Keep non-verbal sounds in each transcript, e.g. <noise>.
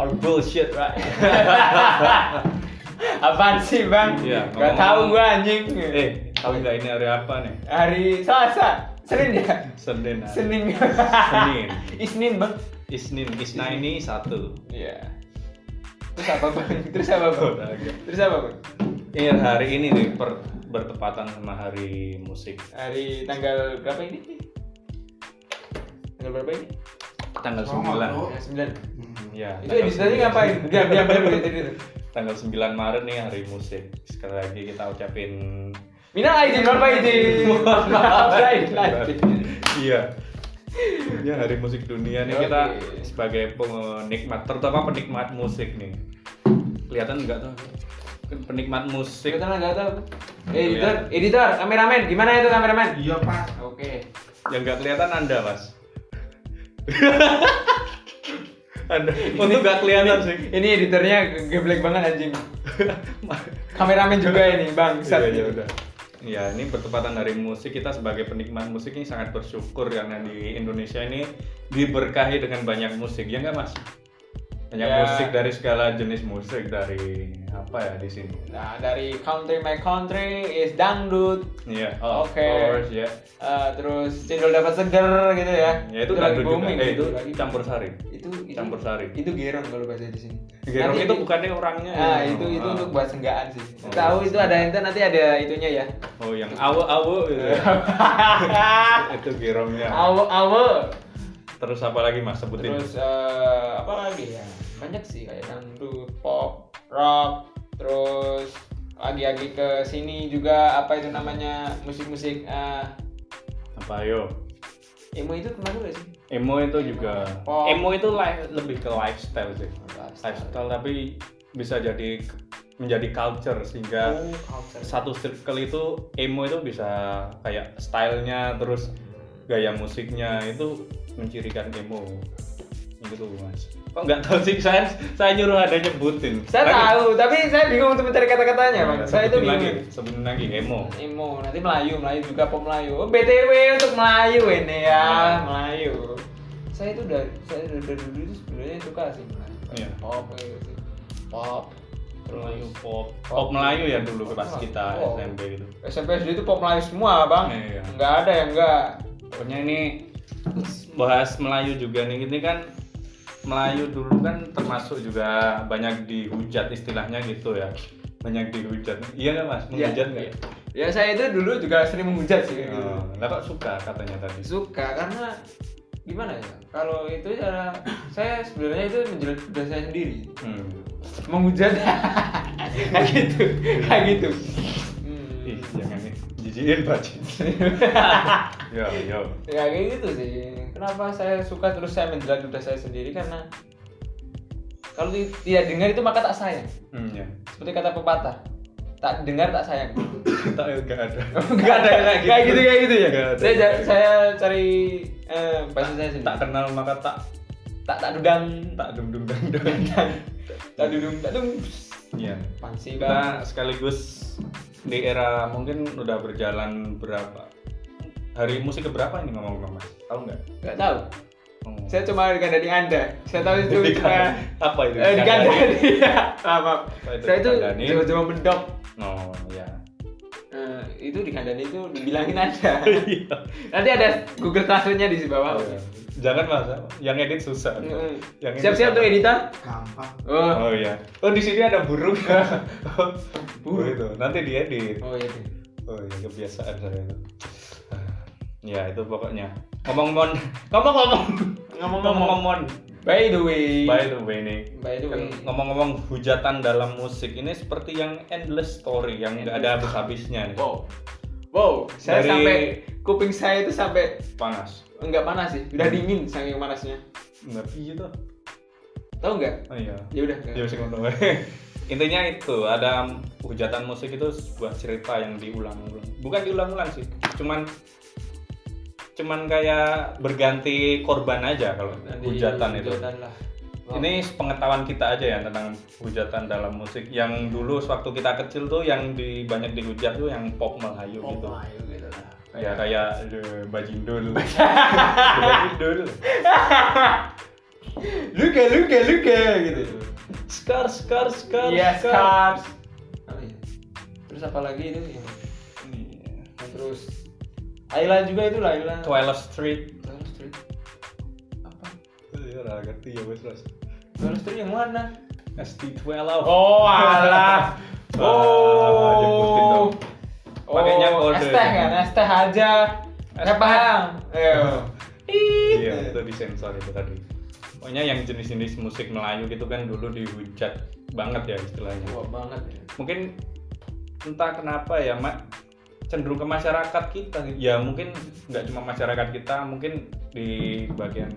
or bullshit right Apaan sih bang? Iya, ngomong-ngomong. Gak tau gua anjing. <laughs> Eh, tahu nggak ini hari apa nih? Hari Selasa, Senin ya? Senin. hari- Senin. <laughs> Senin. Isnin bang. Isnin. Isna ini satu. Iya. Terus apa bang? Terus apa bang? Terus apa bang? Ini hari ini nih per- bertepatan sama hari musik. Hari tanggal berapa ini? Tanggal berapa ini? Tanggal Sama, 9. bro. Tanggal sembilan. Ya. Itu tanggal edit tadi 9. ngapain? Diam, diam, diam, diam, diam, diam. Tanggal 9 Maret nih hari musik. Sekali lagi kita ucapin Minal aidin, wal faizin. Maaf, lain, lain. <laughs> Iya. Ya hari musik dunia nih kita Oke. sebagai penikmat, terutama penikmat musik nih. Kelihatan nggak tuh? Penikmat musik. Kita nggak tahu. Iya. Eh, editor, editor, kameramen, gimana itu kameramen? Iya pas. Oke. Yang nggak kelihatan Anda, <laughs> Mas. anda, untuk nggak kelihatan sih. Ini editornya geblek banget anjing. Kameramen juga ini, Bang. Iya, iya, udah. Ya, ini bertepatan dari musik kita sebagai penikmat musik ini sangat bersyukur karena di Indonesia ini diberkahi dengan banyak musik, ya nggak mas? Banyak Ya. musik dari segala jenis musik dari apa ya di sini? Nah, dari country my country is dangdut. Iya, Oke. course, ya. Eh, terus cendol dapat seger gitu ya. Ya itu lagi dangdut juga, booming, eh, itu lagi- campur sari. itu, itu campur sari. Itu gerong kalau bahasa di sini. Gerong Nanti itu bukannya orangnya. Ah, ya. itu itu Ah. untuk buat senggaan sih. Oh. Tahu itu ada ente nanti ada itunya <laughs> ya. Oh, yang awu-awu itu. <laughs> itu gerongnya. Awe awe. Terus apa lagi mas sebutin? Terus eh, apa lagi ya? Banyak sih kayak dangdut, pop, rock, terus lagi-lagi ke sini juga apa itu namanya musik-musik eh apa yo? emo itu termasuk gak sih? Emo itu juga. Pop. Emo itu li- lebih ke lifestyle sih. Lifestyle. Lifestyle tapi bisa jadi menjadi culture sehingga Oh, culture. satu circle itu emo itu bisa kayak stylenya terus gaya musiknya itu mencirikan emo gitu mas kok nggak tahu sih saya saya nyuruh ada nyebutin Saya Lagi. tahu, tapi saya bingung untuk mencari kata-katanya, Bang. Ya, saya itu sebutin lagi bingung. sebutin lagi emo Emo, nanti Melayu, Melayu juga pom Melayu. Oh, BTW untuk Melayu ini ya, Hmm. Melayu. Saya itu dari saya dari, dari dulu itu sebenarnya suka sih Melayu. Iya. Pop gitu sih. Pop. Melayu pop pop Melayu ya dulu Pop pas Melayu. kita Oh. SMP gitu SMP SD itu pop Melayu semua, Bang. Iya. Enggak ada yang enggak. Pokoknya ini bahas Melayu juga nih. Ini kan Melayu dulu kan termasuk juga banyak dihujat istilahnya gitu ya. Banyak dihujat. Iya nggak mas? Menghujat nggak? Iya. Ya saya itu dulu juga sering menghujat sih kayak gitu. Oh, lah kok suka katanya tadi. suka karena gimana ya kalau itu cara <coughs> saya sebenarnya itu menjelat diri saya sendiri Hmm. menghujat <laughs> kayak gitu kayak gitu Ih, hmm. jangan nih. Jijikin bajin. yo yo. ya kayak gitu sih kenapa saya suka terus saya menjelat ludah saya sendiri karena kalau ti- tidak dengar itu maka tak sayang Hmm, ya. <laughs> seperti kata pepatah tak dengar tak sayang Tak eh, nggak ada. <laughs> nggak ada kayak gitu kayak gitu, ya Nggak ada. saya ja- saya cari eh, bahasa saya sendiri Tak kenal maka tak tak tak dudang tak dum dum dang Iya. dang. tak dudung tak dung Iya. pansi bang kita sekaligus di era mungkin udah berjalan berapa hari musik keberapa ini ngomong-ngomong mas tahu nggak nggak tahu Hmm. <laughs> saya cuma dikandani anda saya tahu itu Dikandani. cuma- Apa itu? eh, dikandani <laughs> ya maaf, maaf. Apa itu saya itu dikandani? coba-coba mendok oh <laughs> ya Eh, itu dikandani itu dibilangin anda Iya. nanti ada Google Translate-nya di bawah Oh, jangan mas yang edit susah Mm-mm. iya. yang Hmm. edit siap-siap susah. tuh editor Gampang. oh oh ya oh di sini ada burung <laughs> burung Burung. oh, itu nanti diedit oh iya oh ya kebiasaan saya itu ya itu pokoknya ngomong <laughs> mon ngomong ngomong ngomong ngomong by the way by the way nih By the way. Kan ngomong-ngomong hujatan dalam musik ini seperti yang endless story yang nggak ada habis-habisnya nih. wow wow saya Dari- sampai kuping saya itu sampai Panas. enggak panas sih udah dingin saking panasnya Nggak gitu. tahu nggak Oh iya. ya udah Ya bisa ngomong. <laughs> Intinya itu ada hujatan musik itu sebuah cerita yang diulang-ulang. Bukan diulang-ulang sih, cuman cuman kayak berganti korban aja kalau Nanti hujatan itu. hujatan lah. Ini pengetahuan kita aja ya tentang hujatan dalam musik. Yang dulu waktu kita kecil tuh yang di, banyak dihujat tuh yang pop Melayu Oh, gitu. Melayu gitu lah. ya kayak <laughs> the bajindul bajindul Lu luka luka luka gitu Scar, Scar, Scar, iya scars Apa ya? terus apa lagi itu yang Iya. yang terus Ayla juga itu Ayla Twilight Street. Dollar Street apa Iya, nggak ngerti ya wes wes. Dollar Street yang mana ST12. <laughs> oh alah Ah, jemputin oh dong. Pakainya kode. es teh kan es teh aja Es nggak teh. paham Ayo. Iya, itu disensor itu tadi. Pokoknya yang jenis-jenis musik Melayu gitu kan dulu dihujat banget ya istilahnya. Wah banget ya. mungkin entah kenapa ya mak cenderung ke masyarakat kita ya mungkin nggak cuma masyarakat kita mungkin di bagian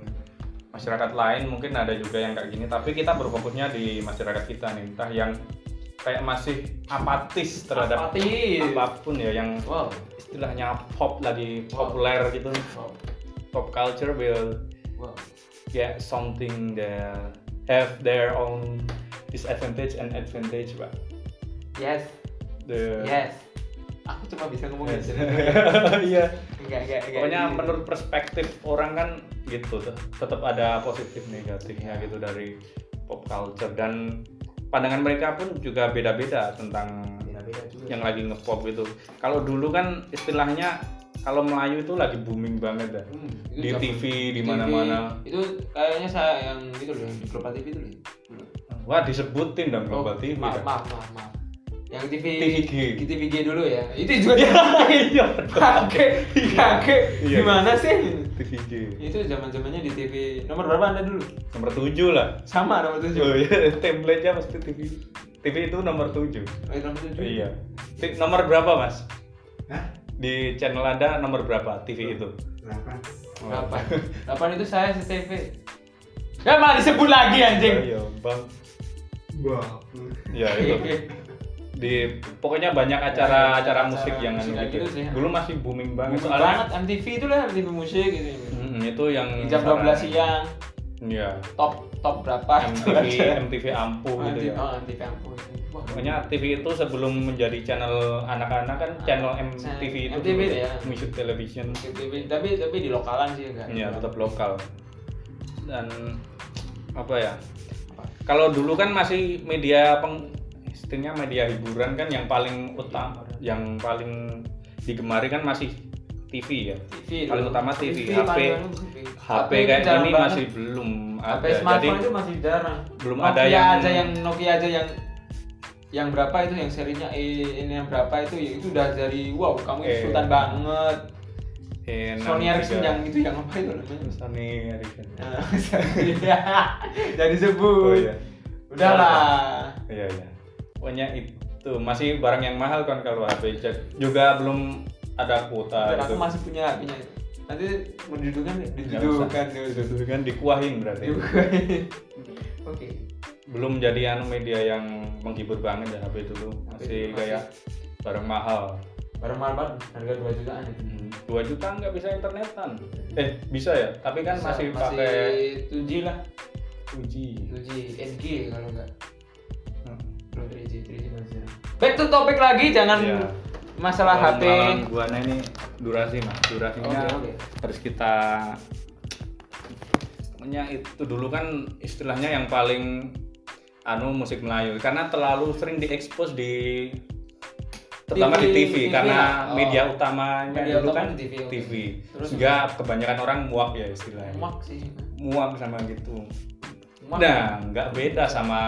masyarakat lain mungkin ada juga yang kayak gini tapi kita berfokusnya di masyarakat kita nih entah yang kayak masih apatis terhadap Apatis. apapun ya yang wow istilahnya pop lagi populer gitu wow pop culture will wow get something that have their own disadvantage and advantage pak yes the yes aku cuma bisa ngomong Yes. gitu Iya. <laughs> enggak enggak enggak Pokoknya Ini- menurut perspektif orang kan gitu tuh. Tetap ada positif Iya. negatifnya gitu dari pop culture dan pandangan mereka pun juga beda-beda tentang beda-beda juga yang lagi ngepop gitu. Kalau dulu kan istilahnya kalau Melayu itu lagi booming banget ya. Hmm, itu Di zaman TV, di mana-mana. TV. itu kayaknya saya yang gitu loh yang di Global TV itu loh Wah, disebutin dong Oh, Global TV. kan. maaf maaf maaf maaf. yang TV TVG. TVG dulu ya itu juga <laughs> Iya. kakek kakek Iya. gimana sih TVG. itu zaman zamannya di TV nomor berapa anda dulu Nomor 7 lah. sama nomor tujuh Oh iya, <laughs> template-nya pasti TV. TV itu nomor 7. Eh, nomor tujuh Iya. Ti- Nomor berapa, Mas? Hah? Di channel Anda nomor berapa Iya, TV itu? Kenapa? delapan delapan itu saya CTV ya malah disebut lagi anjing Iya, Bang. Wow. Iya, <laughs> Ya, itu. Di pokoknya banyak acara-acara Acara musik yang musik gitu. gitu sih. Dulu masih booming banget Booming soalnya. banget MTV itu lah MTV musik gitu Mm-mm, itu yang jam 12 siang Ah. Iya. top top berapa <laughs> MTV Itu aja. MTV ampuh Oh, gitu MTV, ya. oh, MTV ampun Wah, Pokoknya TV itu sebelum menjadi channel anak-anak kan channel MTV itu MTV, dulu, ya. Music Television. MTV, tapi tapi di lokalan sih enggak Iya, tetap lokal. Dan apa ya? Apa? Kalau dulu kan masih media peng istilahnya media hiburan kan yang paling utama, yang paling digemari kan masih TV ya. TV Paling dulu. utama TV, paling HP. utama TV. HP itu kayak jarang gini banget. masih belum HP ada. Jadi smartphone itu masih jarang belum Nokia ada yang- aja yang Nokia aja yang yang berapa itu yang serinya eh, ini yang berapa itu ya itu udah dari wow kamu itu Eh. sultan banget eh, Sony 63. Ericsson yang itu yang apa itu namanya <laughs> Sony Ericsson. Nah, jadi sebut Oh iya. udahlah Iya, iya. Pokoknya itu masih barang yang mahal kan kalau HP juga belum ada kuota Dan aku gitu. masih punya punya nanti mau didudukan didudukan Itu kan dikuahin berarti. Iya, didudukan <laughs> oke belum jadi anu media yang menghibur banget ya HP dulu masih, Masih. kayak barang mahal barang mahal banget harga 2 jutaan itu dua juta nggak bisa internetan eh bisa ya tapi kan Bisa, masih pakai 2G lah uji 2G NG kalau enggak Hmm. belum 3G 3G masih back to topik lagi jangan Iya. masalah HP gua nah ini durasi mas durasinya Oke, oke. harus kita pokoknya itu dulu kan istilahnya yang paling anu musik Melayu karena terlalu sering diekspos di terutama di TV, TV, karena lah. Oh. media utamanya Media dulu utama kan di TV, oke. TV. Terus? Sehingga kebanyakan orang muak ya istilahnya. muak sih Muak sama gitu. Muak. Nah, nggak beda sama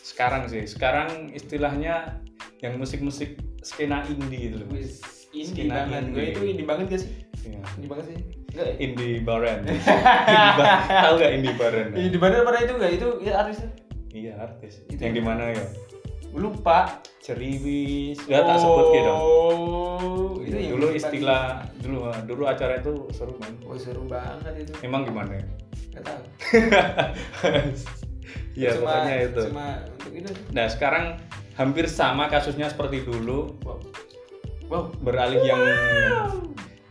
sekarang sih. Sekarang istilahnya yang musik-musik skena indie gitu loh. Wis, indie Skena banget gue indie. itu indie banget gak sih Iya. indie banget sih enggak ya? Indie <laughs> Baren. Indie Bar- Tahu nggak Indie Baren? di bandar pada itu enggak itu ya artisnya Iya artis. Itu. Yang di mana ya? lupa Ceriwis. Gak tak sebut gitu. Oh, itu yang dulu di- istilah dulu ah, dulu acara itu seru banget. Oh seru banget itu. Emang gimana ya? <laughs> Gak tahu. Iya Cuma- pokoknya itu. Cuma untuk itu. Nah sekarang hampir sama kasusnya seperti dulu Wow. Wow. beralih yang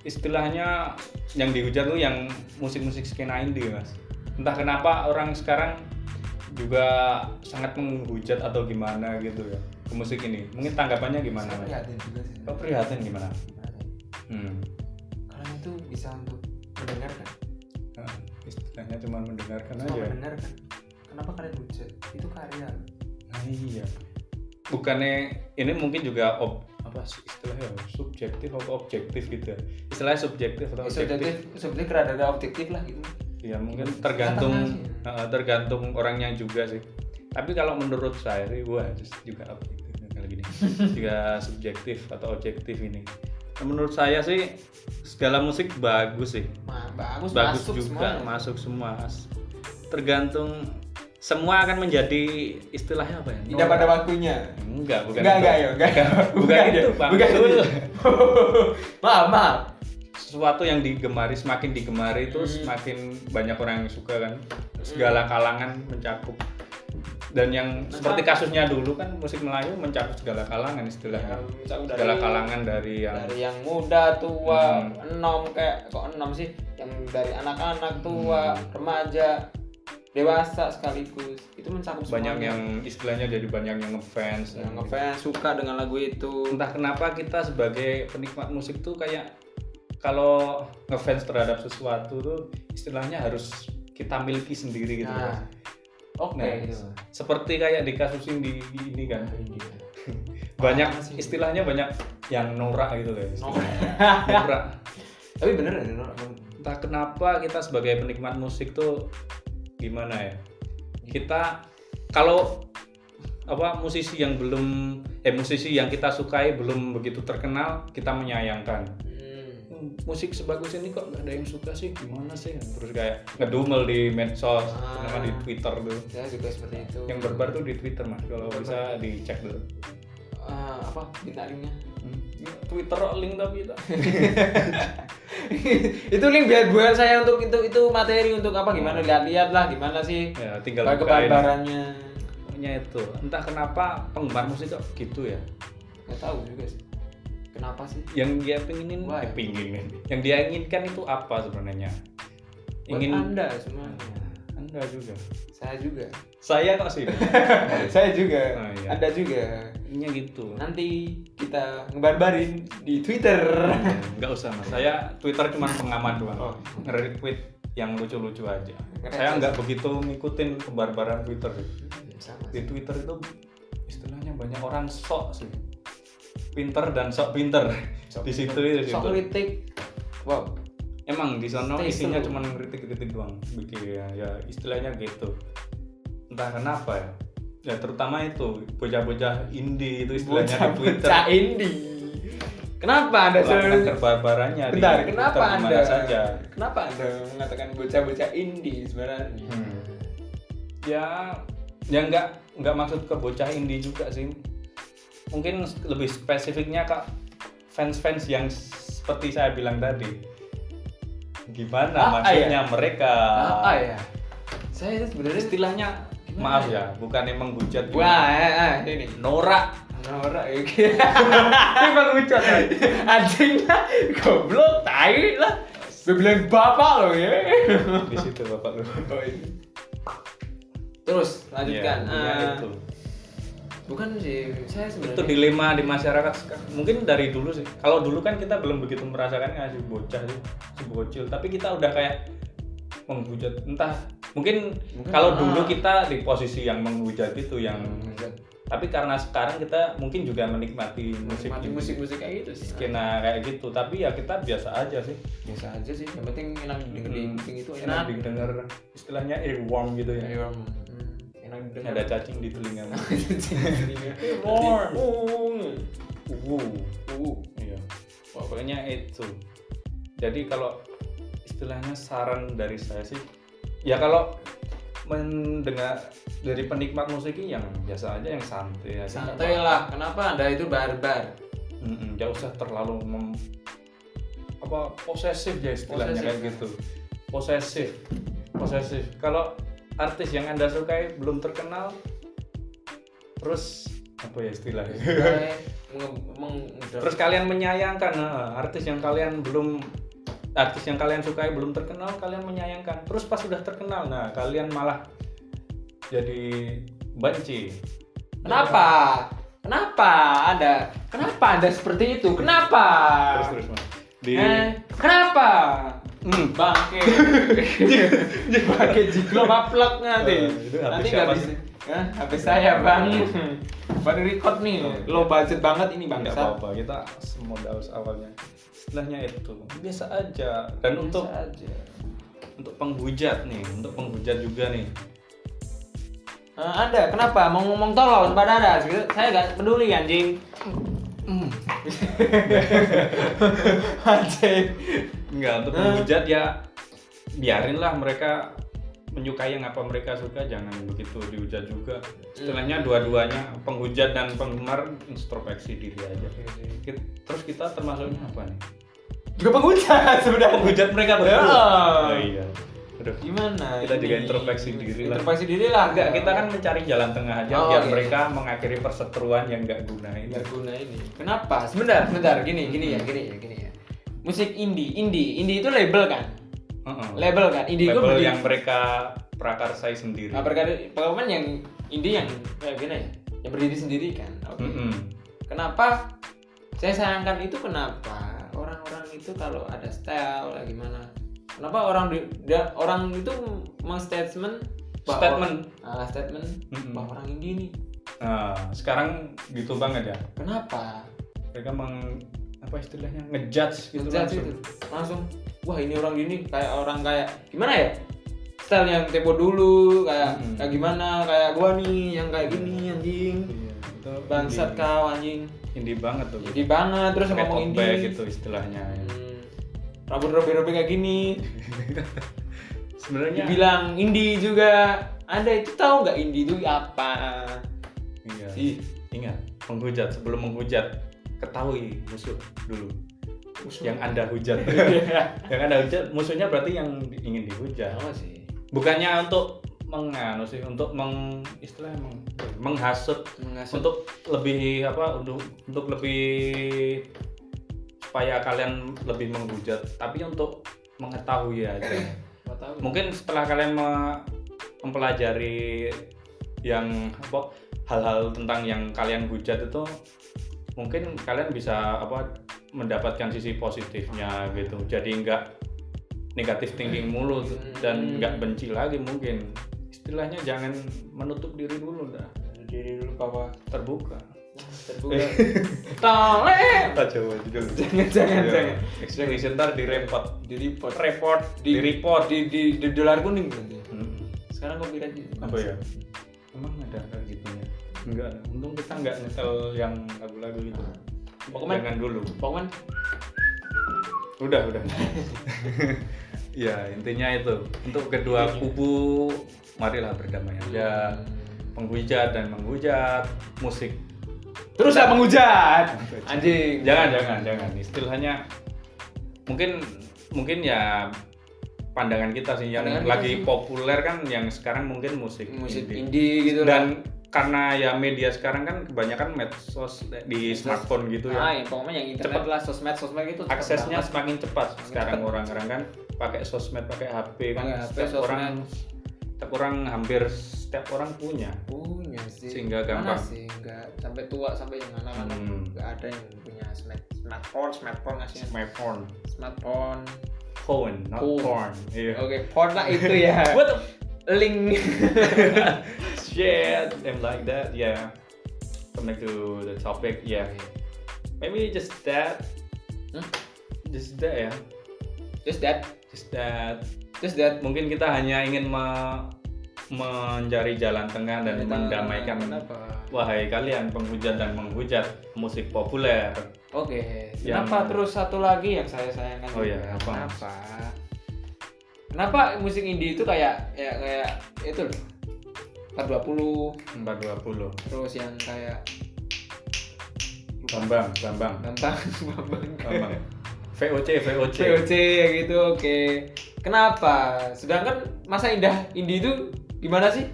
istilahnya yang dihujat tuh yang musik-musik skena indie mas. Entah kenapa orang sekarang juga sangat menghujat atau gimana gitu ya ke musik ini. Mungkin tanggapannya gimana? Saya Mas? prihatin ya, juga sih. Kau prihatin gimana? Prihatin. Hmm. Kalian itu bisa untuk mendengarkan, Nah, istilahnya cuma mendengarkan cuma aja. mendengarkan. kenapa kalian hujat itu karya Nah, iya. Bukannya ini mungkin juga ob, apa sih istilahnya ya? subjektif atau objektif gitu ya. Istilahnya subjektif atau objektif. subjektif subjektif rada-rada objektif lah gitu Ya mungkin tergantung Tengah-tengah sih. ya. eh, tergantung orangnya juga sih. Tapi kalau menurut saya sih wah just juga objektif kalau <laughs> gini. juga subjektif atau objektif ini. Nah, menurut saya sih segala musik bagus sih. Ma- bagus, bagus masuk juga semua. ya? masuk semua tergantung semua akan menjadi istilahnya apa ya tidak pada waktunya enggak gitu, bukan enggak itu. enggak ya enggak <laughs> bukan itu Pak. bukan itu <laughs> Betul. maaf maaf sesuatu yang digemari semakin digemari itu Hmm. semakin banyak orang yang suka kan segala kalangan mencakup dan yang Nah, seperti kasusnya dulu kan musik Melayu mencakup segala kalangan istilahnya Ya, mencakup segala dari- kalangan dari yang dari yang muda tua Hmm. enom kayak kok enom sih yang dari anak-anak Hmm. tua remaja dewasa sekaligus itu banyak mencakup semuanya. yang istilahnya jadi banyak yang ngefans gitu. yang ngefans suka dengan lagu itu entah kenapa kita sebagai penikmat musik tuh kayak kalau ngefans terhadap sesuatu tuh istilahnya harus kita miliki sendiri gitu kan. nah oke Nah, gitu. Seperti kayak di kasus ini, ini kan Nah, banyak Apa sih? istilahnya banyak yang norak gitu loh. no. istilahnya. Norak. tapi bener ya Nora? Entah kenapa kita sebagai penikmat musik tuh gimana ya? Kita kalau apa musisi yang belum eh musisi yang kita sukai belum begitu terkenal kita menyayangkan Hmm. musik sebagus ini kok nggak ada yang suka sih gimana sih terus kayak ngedumel di medsos Ah. sama di twitter tuh saya juga seperti itu yang berbar tuh di twitter mas kalau bisa dicek dulu Eh, apa minta linknya <laughs> Hmm, twitter link tapi itu itu link biar buat saya untuk itu itu materi untuk apa gimana lihat-lihat lah gimana sih Oh. ya tinggal Bar- bukain kebarbarannya pokoknya itu entah kenapa penggemar musik kok gitu ya nggak tahu juga sih kenapa sih yang dia pinginin Why? eh, pinginin yang dia inginkan itu apa sebenarnya buat ingin Oh, iya. anda semuanya anda juga saya <laughs> juga saya kok sih saya juga Oh, iya. anda juga inginnya gitu nanti kita ngebarbarin di <laughs> Twitter Enggak usah mas, saya Twitter cuma pengaman doang Oh. Nge-retweet yang lucu-lucu aja Nge-retweet. Saya nggak begitu ngikutin kebarbaran Twitter sama Di Twitter itu istilahnya banyak orang sok sih Pinter dan sok pinter Di situ di sok situ. kritik wow Emang di sana Stay isinya slow. cuma kritik-kritik doang Bikin ya, ya istilahnya gitu Entah kenapa ya Ya terutama itu bocah-bocah indie itu istilahnya di Twitter bocah <laughs> indie kenapa anda Melakukan selalu kebarbarannya di Bentar, Twitter kenapa kemana Anda saja Kenapa Anda mengatakan bocah-bocah indie sebenarnya? Hmm. ya ya nggak nggak maksud ke bocah indie juga sih mungkin lebih spesifiknya ke fans-fans yang seperti saya bilang tadi Ah, gimana maksudnya mereka Apa ya? Saya itu sebenarnya istilahnya Gimana Ah. maaf ya? ya bukan emang hujat Wah, eh, eh, ini. norak Norak ya. <laughs> Emang lucu kan? Anjingnya goblok tai lah. Gue bilang bapak lo ya. di situ bapak lu Oh, ini. Terus lanjutkan. Ya, intinya Eh, itu Bukan sih, saya itu sebenarnya dilema di masyarakat sekarang. mungkin dari dulu sih kalau dulu kan kita belum begitu merasakan ngasih bocah sih si bocil tapi kita udah kayak menghujat entah mungkin, Mungkin, kalau ah. dulu kita di posisi yang menghujat itu yang tapi karena sekarang kita mungkin juga menikmati musik menikmati ini. musik-musik kayak gitu sih. Ah, skena kayak gitu tapi ya kita biasa aja sih biasa aja sih yang penting enak Hmm. didengar di kuping itu enak enak didengar istilahnya earworm gitu ya Earworm. Hmm, enak Iya, didengar ada <laughs> cacing di telinga <laughs> earworm Hmm. wow uh Iya. Pokoknya itu. Jadi kalau istilahnya saran dari saya sih, ya kalau mendengar dari penikmat musik yang biasa aja yang santai aja. santai lah kenapa anda itu barbar Mm-mm, nggak usah terlalu mem- apa posesif ya istilahnya Posesif. kayak gitu. Posesif. Posesif. Kalau artis yang Anda sukai belum terkenal terus apa ya istilahnya? Santai, menge- meng- terus kalian menyayangkan nah, artis yang kalian belum artis yang kalian sukai belum terkenal kalian menyayangkan terus pas sudah terkenal nah kalian malah jadi benci kenapa kenapa anda kenapa anda seperti itu kenapa terus terus Mas. di Eh, kenapa Hmm, <laughs> bangke. bangke jiglo maplek nanti. Eh, itu habis nanti nggak siapa bisa. sih? Hmm. Hah? Habis saya, Bang. Baru record nih. Lo budget banget ini, Oh, Bang. iya. kan nggak apa-apa kita semodal awalnya istilahnya itu biasa aja dan untuk aja. untuk penghujat nih untuk penghujat juga nih Eh, ada, kenapa? Mau ngomong tolol pada ada. Saya nggak peduli <laughs> anjing. Hmm. anjing. nggak untuk Hah? penghujat ya biarinlah mereka menyukai yang apa mereka suka jangan begitu dihujat juga istilahnya Hmm. dua-duanya penghujat dan penggemar introspeksi diri aja Ki- terus kita termasuknya apa nih Juga penghujat sebenarnya. penghujat mereka berdua Ya. Oh, iya Aduh. Gimana? Kita juga ini? introspeksi diri lah. Introspeksi diri lah. Enggak, kita kan mencari jalan tengah aja Oh, biar iya. mereka mengakhiri perseteruan yang nggak guna ini. nggak guna ini kenapa sebentar sebentar gini gini ya gini ya gini ya musik indie indie indie itu label kan Heeh. label kan indie itu Oh. Label berarti- yang mereka prakarsai sendiri. nah, berkali- pengalaman yang indie yang kayak gini ya yang berdiri sendiri kan Oke. Mm-mm. kenapa saya sayangkan itu kenapa orang-orang itu kalau ada style lah gimana kenapa orang di, da- orang itu mengstatement bahwa- Statement. Ah, statement Mm-mm. bahwa orang indie nih Nah, sekarang gitu banget ya. kenapa Mereka meng apa istilahnya ngejudge gitu Ngejudge langsung. itu. langsung wah ini orang gini kayak orang kayak gimana ya style yang tempo dulu kayak Mm-mm. kayak gimana kayak gua nih yang kayak gini anjing Iya, itu bangsat indie- kau anjing Indie banget tuh. jadi banget terus Pakai ngomong tote bag indie gitu istilahnya. Hmm, rambut robek-robek kayak gini Sebenarnya dibilang indie juga ada itu tahu nggak indie itu apa Iya. Ih. Ingat, menghujat sebelum menghujat ketahui musuh dulu yang anda <laughs> hujat. yang anda hujat musuhnya berarti yang di- ingin dihujat. apa sih Bukannya untuk menganu sih, untuk meng istilah meng, menghasut mengasut untuk lebih apa untuk untuk lebih supaya kalian lebih menghujat tapi untuk mengetahui aja Nggak tahu. mungkin setelah kalian me- mempelajari yang apa hal-hal tentang yang kalian hujat itu mungkin kalian bisa apa mendapatkan sisi positifnya gitu jadi nggak negatif thinking mulu dan nggak benci lagi mungkin istilahnya jangan menutup diri dulu dah diri dulu bahwa terbuka terbuka <laughs> toleh kita coba judul jangan jangan Iya. jangan Explanation ntar di report di report report di, report di di, di dolar kuning berarti Hmm. sekarang copyright gitu apa ya emang ada kayak gitunya enggak ada. untung kita enggak nyetel yang lagu-lagu itu Pokoknya- jangan dulu pokoknya udah <laughs> udah ya intinya itu untuk kedua kubu marilah berdamai aja penghujat dan menghujat musik terus lah menghujat anjing jangan jangan jangan istilahnya mungkin mungkin ya pandangan kita sih yang Pandangan kita lagi sih. populer kan yang sekarang mungkin musik musik indie. indie gitu lah. dan karena ya media sekarang kan kebanyakan medsos di smartphone gitu ah, ya ya, pokoknya yang internet Cepet. lah sosmed sosmed gitu itu cepet aksesnya banget. semakin cepat sekarang cepat. orang-orang kan pakai sosmed pakai HP kan Pakai HP, setiap sosmed. orang setiap orang hampir setiap orang punya punya sih Sehingga Mana gampang. sih enggak sampai tua sampai yang anak-anak Hmm. Iya. enggak ada yang punya smart smartphone smartphone aslinya smartphone smartphone phone not Iya. Phone. Oh. porn iya oke porn lah itu ya <laughs> what the link shit and like that yeah come back to the topic yeah maybe just that Hmm? just that ya just that just that just that mungkin kita hanya ingin me- mencari jalan tengah dan Kita- mendamaikan kenapa wahai kalian penghujat dan menghujat musik populer Oke, Yang- kenapa terus satu lagi yang saya sayangkan? Oh iya, juga? apa? Kenapa? Kenapa musik indie itu kayak ya kayak itu loh. 420 420 terus yang kayak Bambang Bambang Bambang <laughs> Bambang Bambang VOC VOC VOC ya gitu. Oke. Kenapa? Sedangkan masa indah indie itu gimana sih?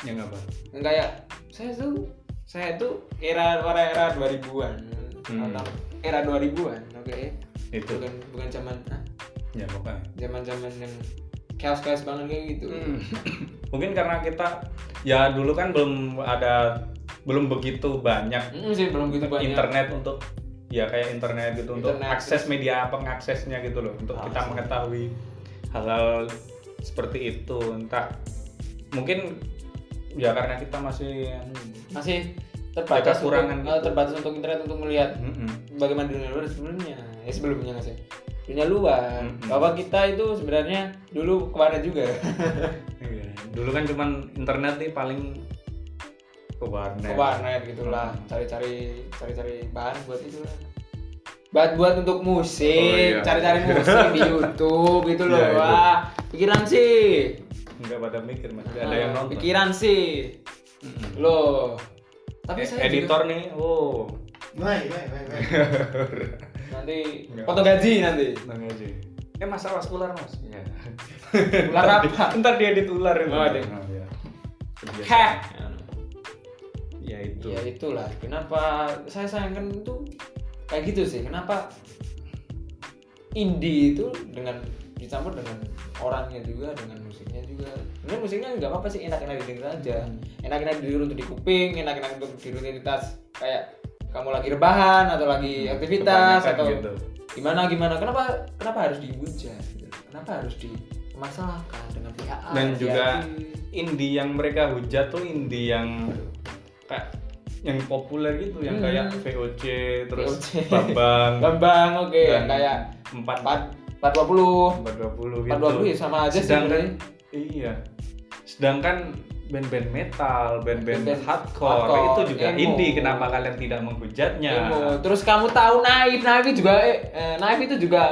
yang apa Yang kayak saya tuh saya tuh era era era 2000-an. Hmm. Era 2000-an, oke. itu Bukan bukan zaman ah, ya pokoknya zaman-zaman yang chaos-chaos banget kayak gitu. Hmm. mungkin karena kita ya dulu kan belum ada belum begitu banyak Mm, sih belum gitu banyak. internet untuk ya kayak internet gitu untuk Internet. Ah, akses media pengaksesnya gitu loh untuk kita Akses. mengetahui hal-hal seperti itu entah mungkin ya karena kita masih masih terbatas Ada kurangan untuk, gitu. eh, terbatas untuk internet untuk melihat Mm-mm. bagaimana dunia luar sebelumnya ya sebelumnya nggak sih dunia luar Mm-mm. bahwa kita itu sebenarnya dulu kemana juga Iya. dulu kan cuman internet nih paling ke warnet ke warnet gitulah Mm. cari-cari cari-cari bahan buat itu lah buat buat untuk musik Oh, iya. cari-cari musik <laughs> di YouTube gitu loh Iya, itu. wah pikiran sih nggak pada mikir masih ada Nah, yang nonton pikiran sih Mm-mm. loh tapi Eh, saya juga editor nih oh Naik, naik, naik, naik. nanti Nggak. potong gaji nanti namanya aja eh masalah ular mas <laughs> iya ular apa ntar dia edit ular itu. Oh, ada. Nah, iya. Kebiasaan. Heh. ya itu ya itulah kenapa saya sayangkan itu kayak gitu sih kenapa indie itu dengan dicampur dengan orangnya juga dengan musiknya juga sebenarnya musiknya nggak apa-apa sih enak-enak didengar aja Hmm. enak-enak didengar untuk di kuping enak-enak untuk di rutinitas kayak kamu lagi rebahan atau lagi Hmm, aktivitas Kebanyakan atau gitu. gimana gimana kenapa kenapa harus dihujat gitu? kenapa harus dimasalahkan dengan pihak A, dan pihak juga B? indie yang mereka hujat tuh indie yang kayak yang populer gitu yang Hmm. kayak VOC terus VOC. <laughs> Babang Bambang oke dan yang kayak empat empat empat dua puluh empat dua puluh gitu empat dua puluh ya sama aja sih sedangkan sebenarnya. iya sedangkan band-band metal band-band Band-band hardcore, hardcore, itu juga emo. indie kenapa kalian tidak menghujatnya Emo. Oh, terus kamu tahu Naif Naif itu juga eh, eh, Naif itu juga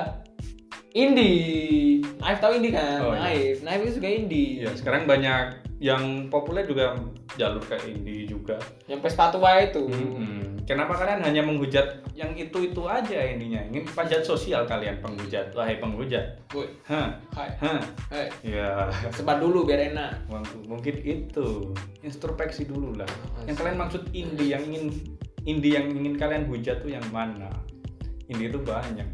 indie Naif tahu indie kan Oh, iya. Naif Naif itu juga indie Iya, sekarang banyak yang populer juga jalur ke indie juga. yang Pespatua itu Mm-mm. Kenapa kalian hanya menghujat yang itu-itu aja ininya? Ingin panjat sosial kalian penghujat. Wahai penghujat. Woi, Hah. hai Hah. hai Ya, sebat dulu biar enak mung- mungkin itu. Introspeksi dulu lah. Yang kalian maksud indie yang ingin indie yang ingin kalian hujat tuh yang mana? Indie itu banyak.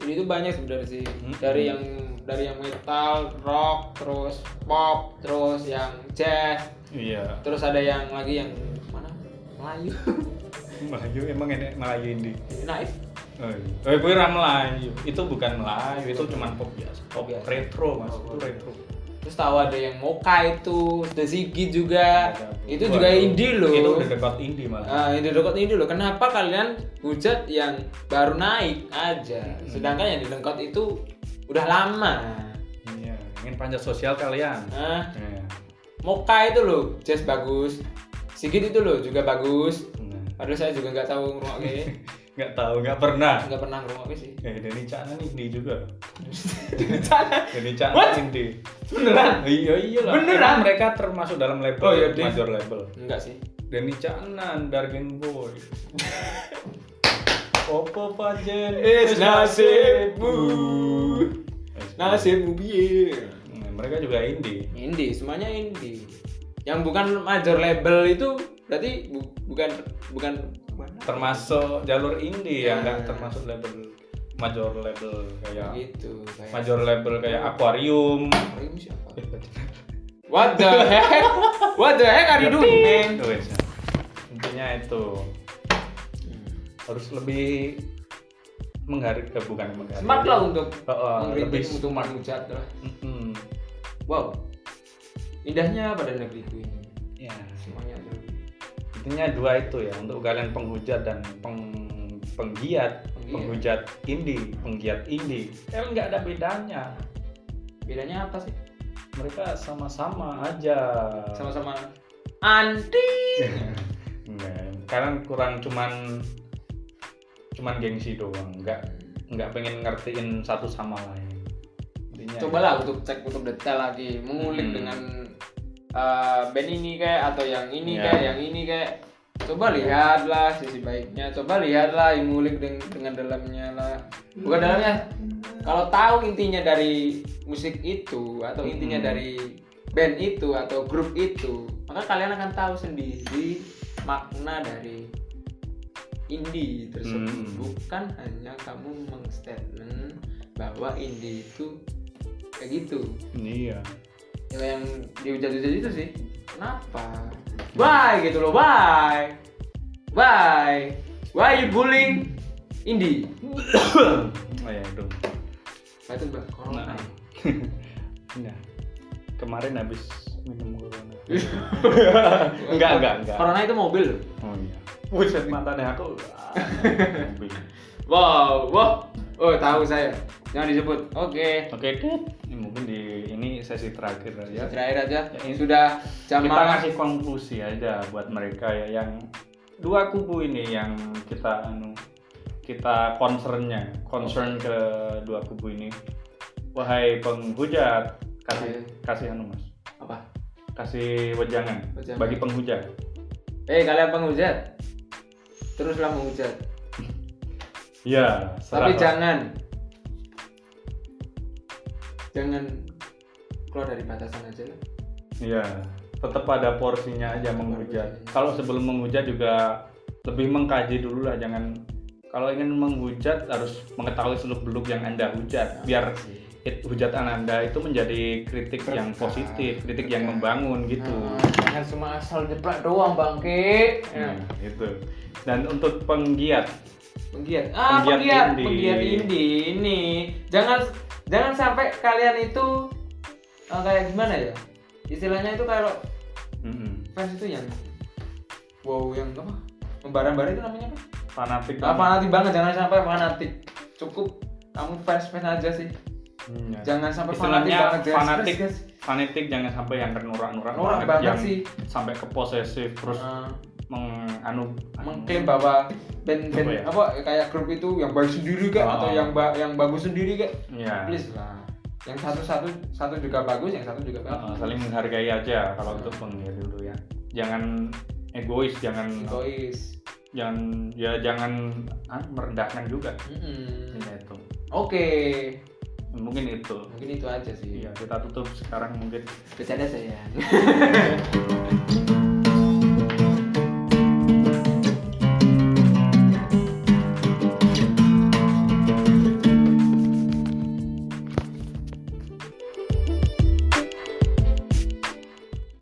Jadi itu banyak sebenarnya sih Hmm. dari yang dari yang metal rock terus pop terus yang jazz Iya. terus ada yang lagi yang mana Melayu <laughs> Melayu emang enak Melayu indie. Naif Oh, iya. Eh, gue orang Melayu. Itu bukan Melayu, itu cuman pop biasa. Pop Biasa. retro, Mas. Oh, Itu retro. terus tahu ada yang Moka itu The Ziggy juga itu juga Waduh. indie loh Itu udah dekat indie malah. Ah, indie dekat indie loh kenapa kalian hujat yang baru naik aja Hmm. sedangkan yang di dekat itu udah lama Iya, ingin panjat sosial kalian. ah Iya. Moka itu loh jazz bagus Sigit itu loh juga bagus Nah, padahal saya juga nggak tahu ngerungoknya <laughs> nggak tahu, nggak pernah. nggak pernah ngerungoknya sih Eh, Denny Caknan indie juga. Bercanda. Denny Caknan What? indie. beneran Iya iya lah. Beneran? Emang mereka termasuk dalam label, Oh, iya, Denny. major label. enggak sih Denny Caknan, Dargen <laughs> Boy. Opo pajen Is nasibmu. nasibmu biar Nah, mereka juga indie. indie semuanya indie yang bukan major label itu berarti bu- bukan bukan mana? termasuk jalur indie yang Nah. nggak termasuk label major label kayak gitu kayak major Eh, label kayak aquarium Aquarium siapa what the heck what the heck are you doing man? Itu wes. intinya itu harus lebih menghargai eh, bukan menghargai Hmm. smart lah untuk Oh, oh, mengkritik lebih untuk smart. menghujat lah Mm-mm. wow indahnya pada negeriku ini ya semuanya tuh intinya dua itu ya untuk kalian penghujat dan peng- penggiat Penggiat. penghujat indie penggiat indie kan nggak ada bedanya bedanya apa sih mereka sama-sama aja <laughs> sama-sama anti Enggak, kalian Nah, kurang cuman cuman gengsi doang, nggak nggak pengen ngertiin satu sama lain. Intinya ya. cobalah untuk cek untuk detail lagi Hmm. mengulik dengan eh, band ini kayak atau yang ini Ya. kayak yang ini kayak coba lihatlah sisi baiknya coba lihatlah yang ngulik deng- dengan dalamnya lah bukan dalamnya kalau tahu intinya dari musik itu atau intinya Hmm. dari band itu atau grup itu maka kalian akan tahu sendiri makna dari indie tersebut Hmm. bukan hanya kamu mengstatement bahwa indie itu kayak gitu Iya. ya, yang dihujat-hujat itu sih kenapa bye gitu loh bye bye why you bullying Indi. oh ya dong <laughs> Nah, itu mbak corona. <laughs> Nah. Nah, kemarin habis minum corona <laughs> enggak enggak enggak Corona itu mobil. loh. oh iya buset matanya aku <laughs> ah, mobil. Wow, wow. Oh, tahu saya. Jangan disebut. Oke. oke Dit. Ini mungkin di ini sesi terakhir ya Terakhir aja. Ya, ini- Sudah jam kita malam. kasih konklusi aja buat mereka ya yang dua kubu ini yang kita anu kita concernnya concern ke dua kubu ini wahai penghujat kasih kasih anu mas Apa? kasih wejangan Wejangan. bagi penghujat Eh, kalian penghujat. Teruslah menghujat. ya Tapi serahlah. jangan jangan keluar dari batasan aja lah. ya tetap ada porsinya aja menghujat porsinya. kalau sebelum menghujat juga lebih mengkaji dulu lah jangan kalau ingin menghujat harus mengetahui seluk beluk yang anda hujat biar it- hujatan anda itu menjadi kritik yang positif kritik yang membangun gitu Ah, jangan cuma asal jeplak doang Ya. bangke. Nah, itu dan untuk penggiat Penggiat. Ah, Penggiat penggiat, indie. penggiat indie ini. Jangan jangan sampai kalian itu eh, kayak gimana ya? Istilahnya itu kalau mm-mm, fans itu yang wow yang apa? Membara-bara itu namanya apa? fanatik Nah, fanatik banget jangan sampai fanatik. Cukup kamu fans-fans aja sih. Hmm, ya. Jangan sampai fanatik Istilahnya banget guys. fanatik Guys, fanatik jangan sampai yang norak-norak banget, Norak banget yang sih. sampai ke posesif terus anu, guys. Eh, menganu mengklaim bahwa Nah, Apa band-band ya? apa kayak grup itu yang baik sendiri kak Ah. atau yang ba- yang bagus sendiri kak ya please lah yang satu satu satu juga bagus yang satu juga uh, bagus saling menghargai aja kalau untuk penggiat dulu ya jangan egois jangan egois jangan ya jangan ah, merendahkan juga Mm-mm. Ya, itu oke mungkin itu mungkin itu aja sih Iya, kita tutup sekarang mungkin bercanda saya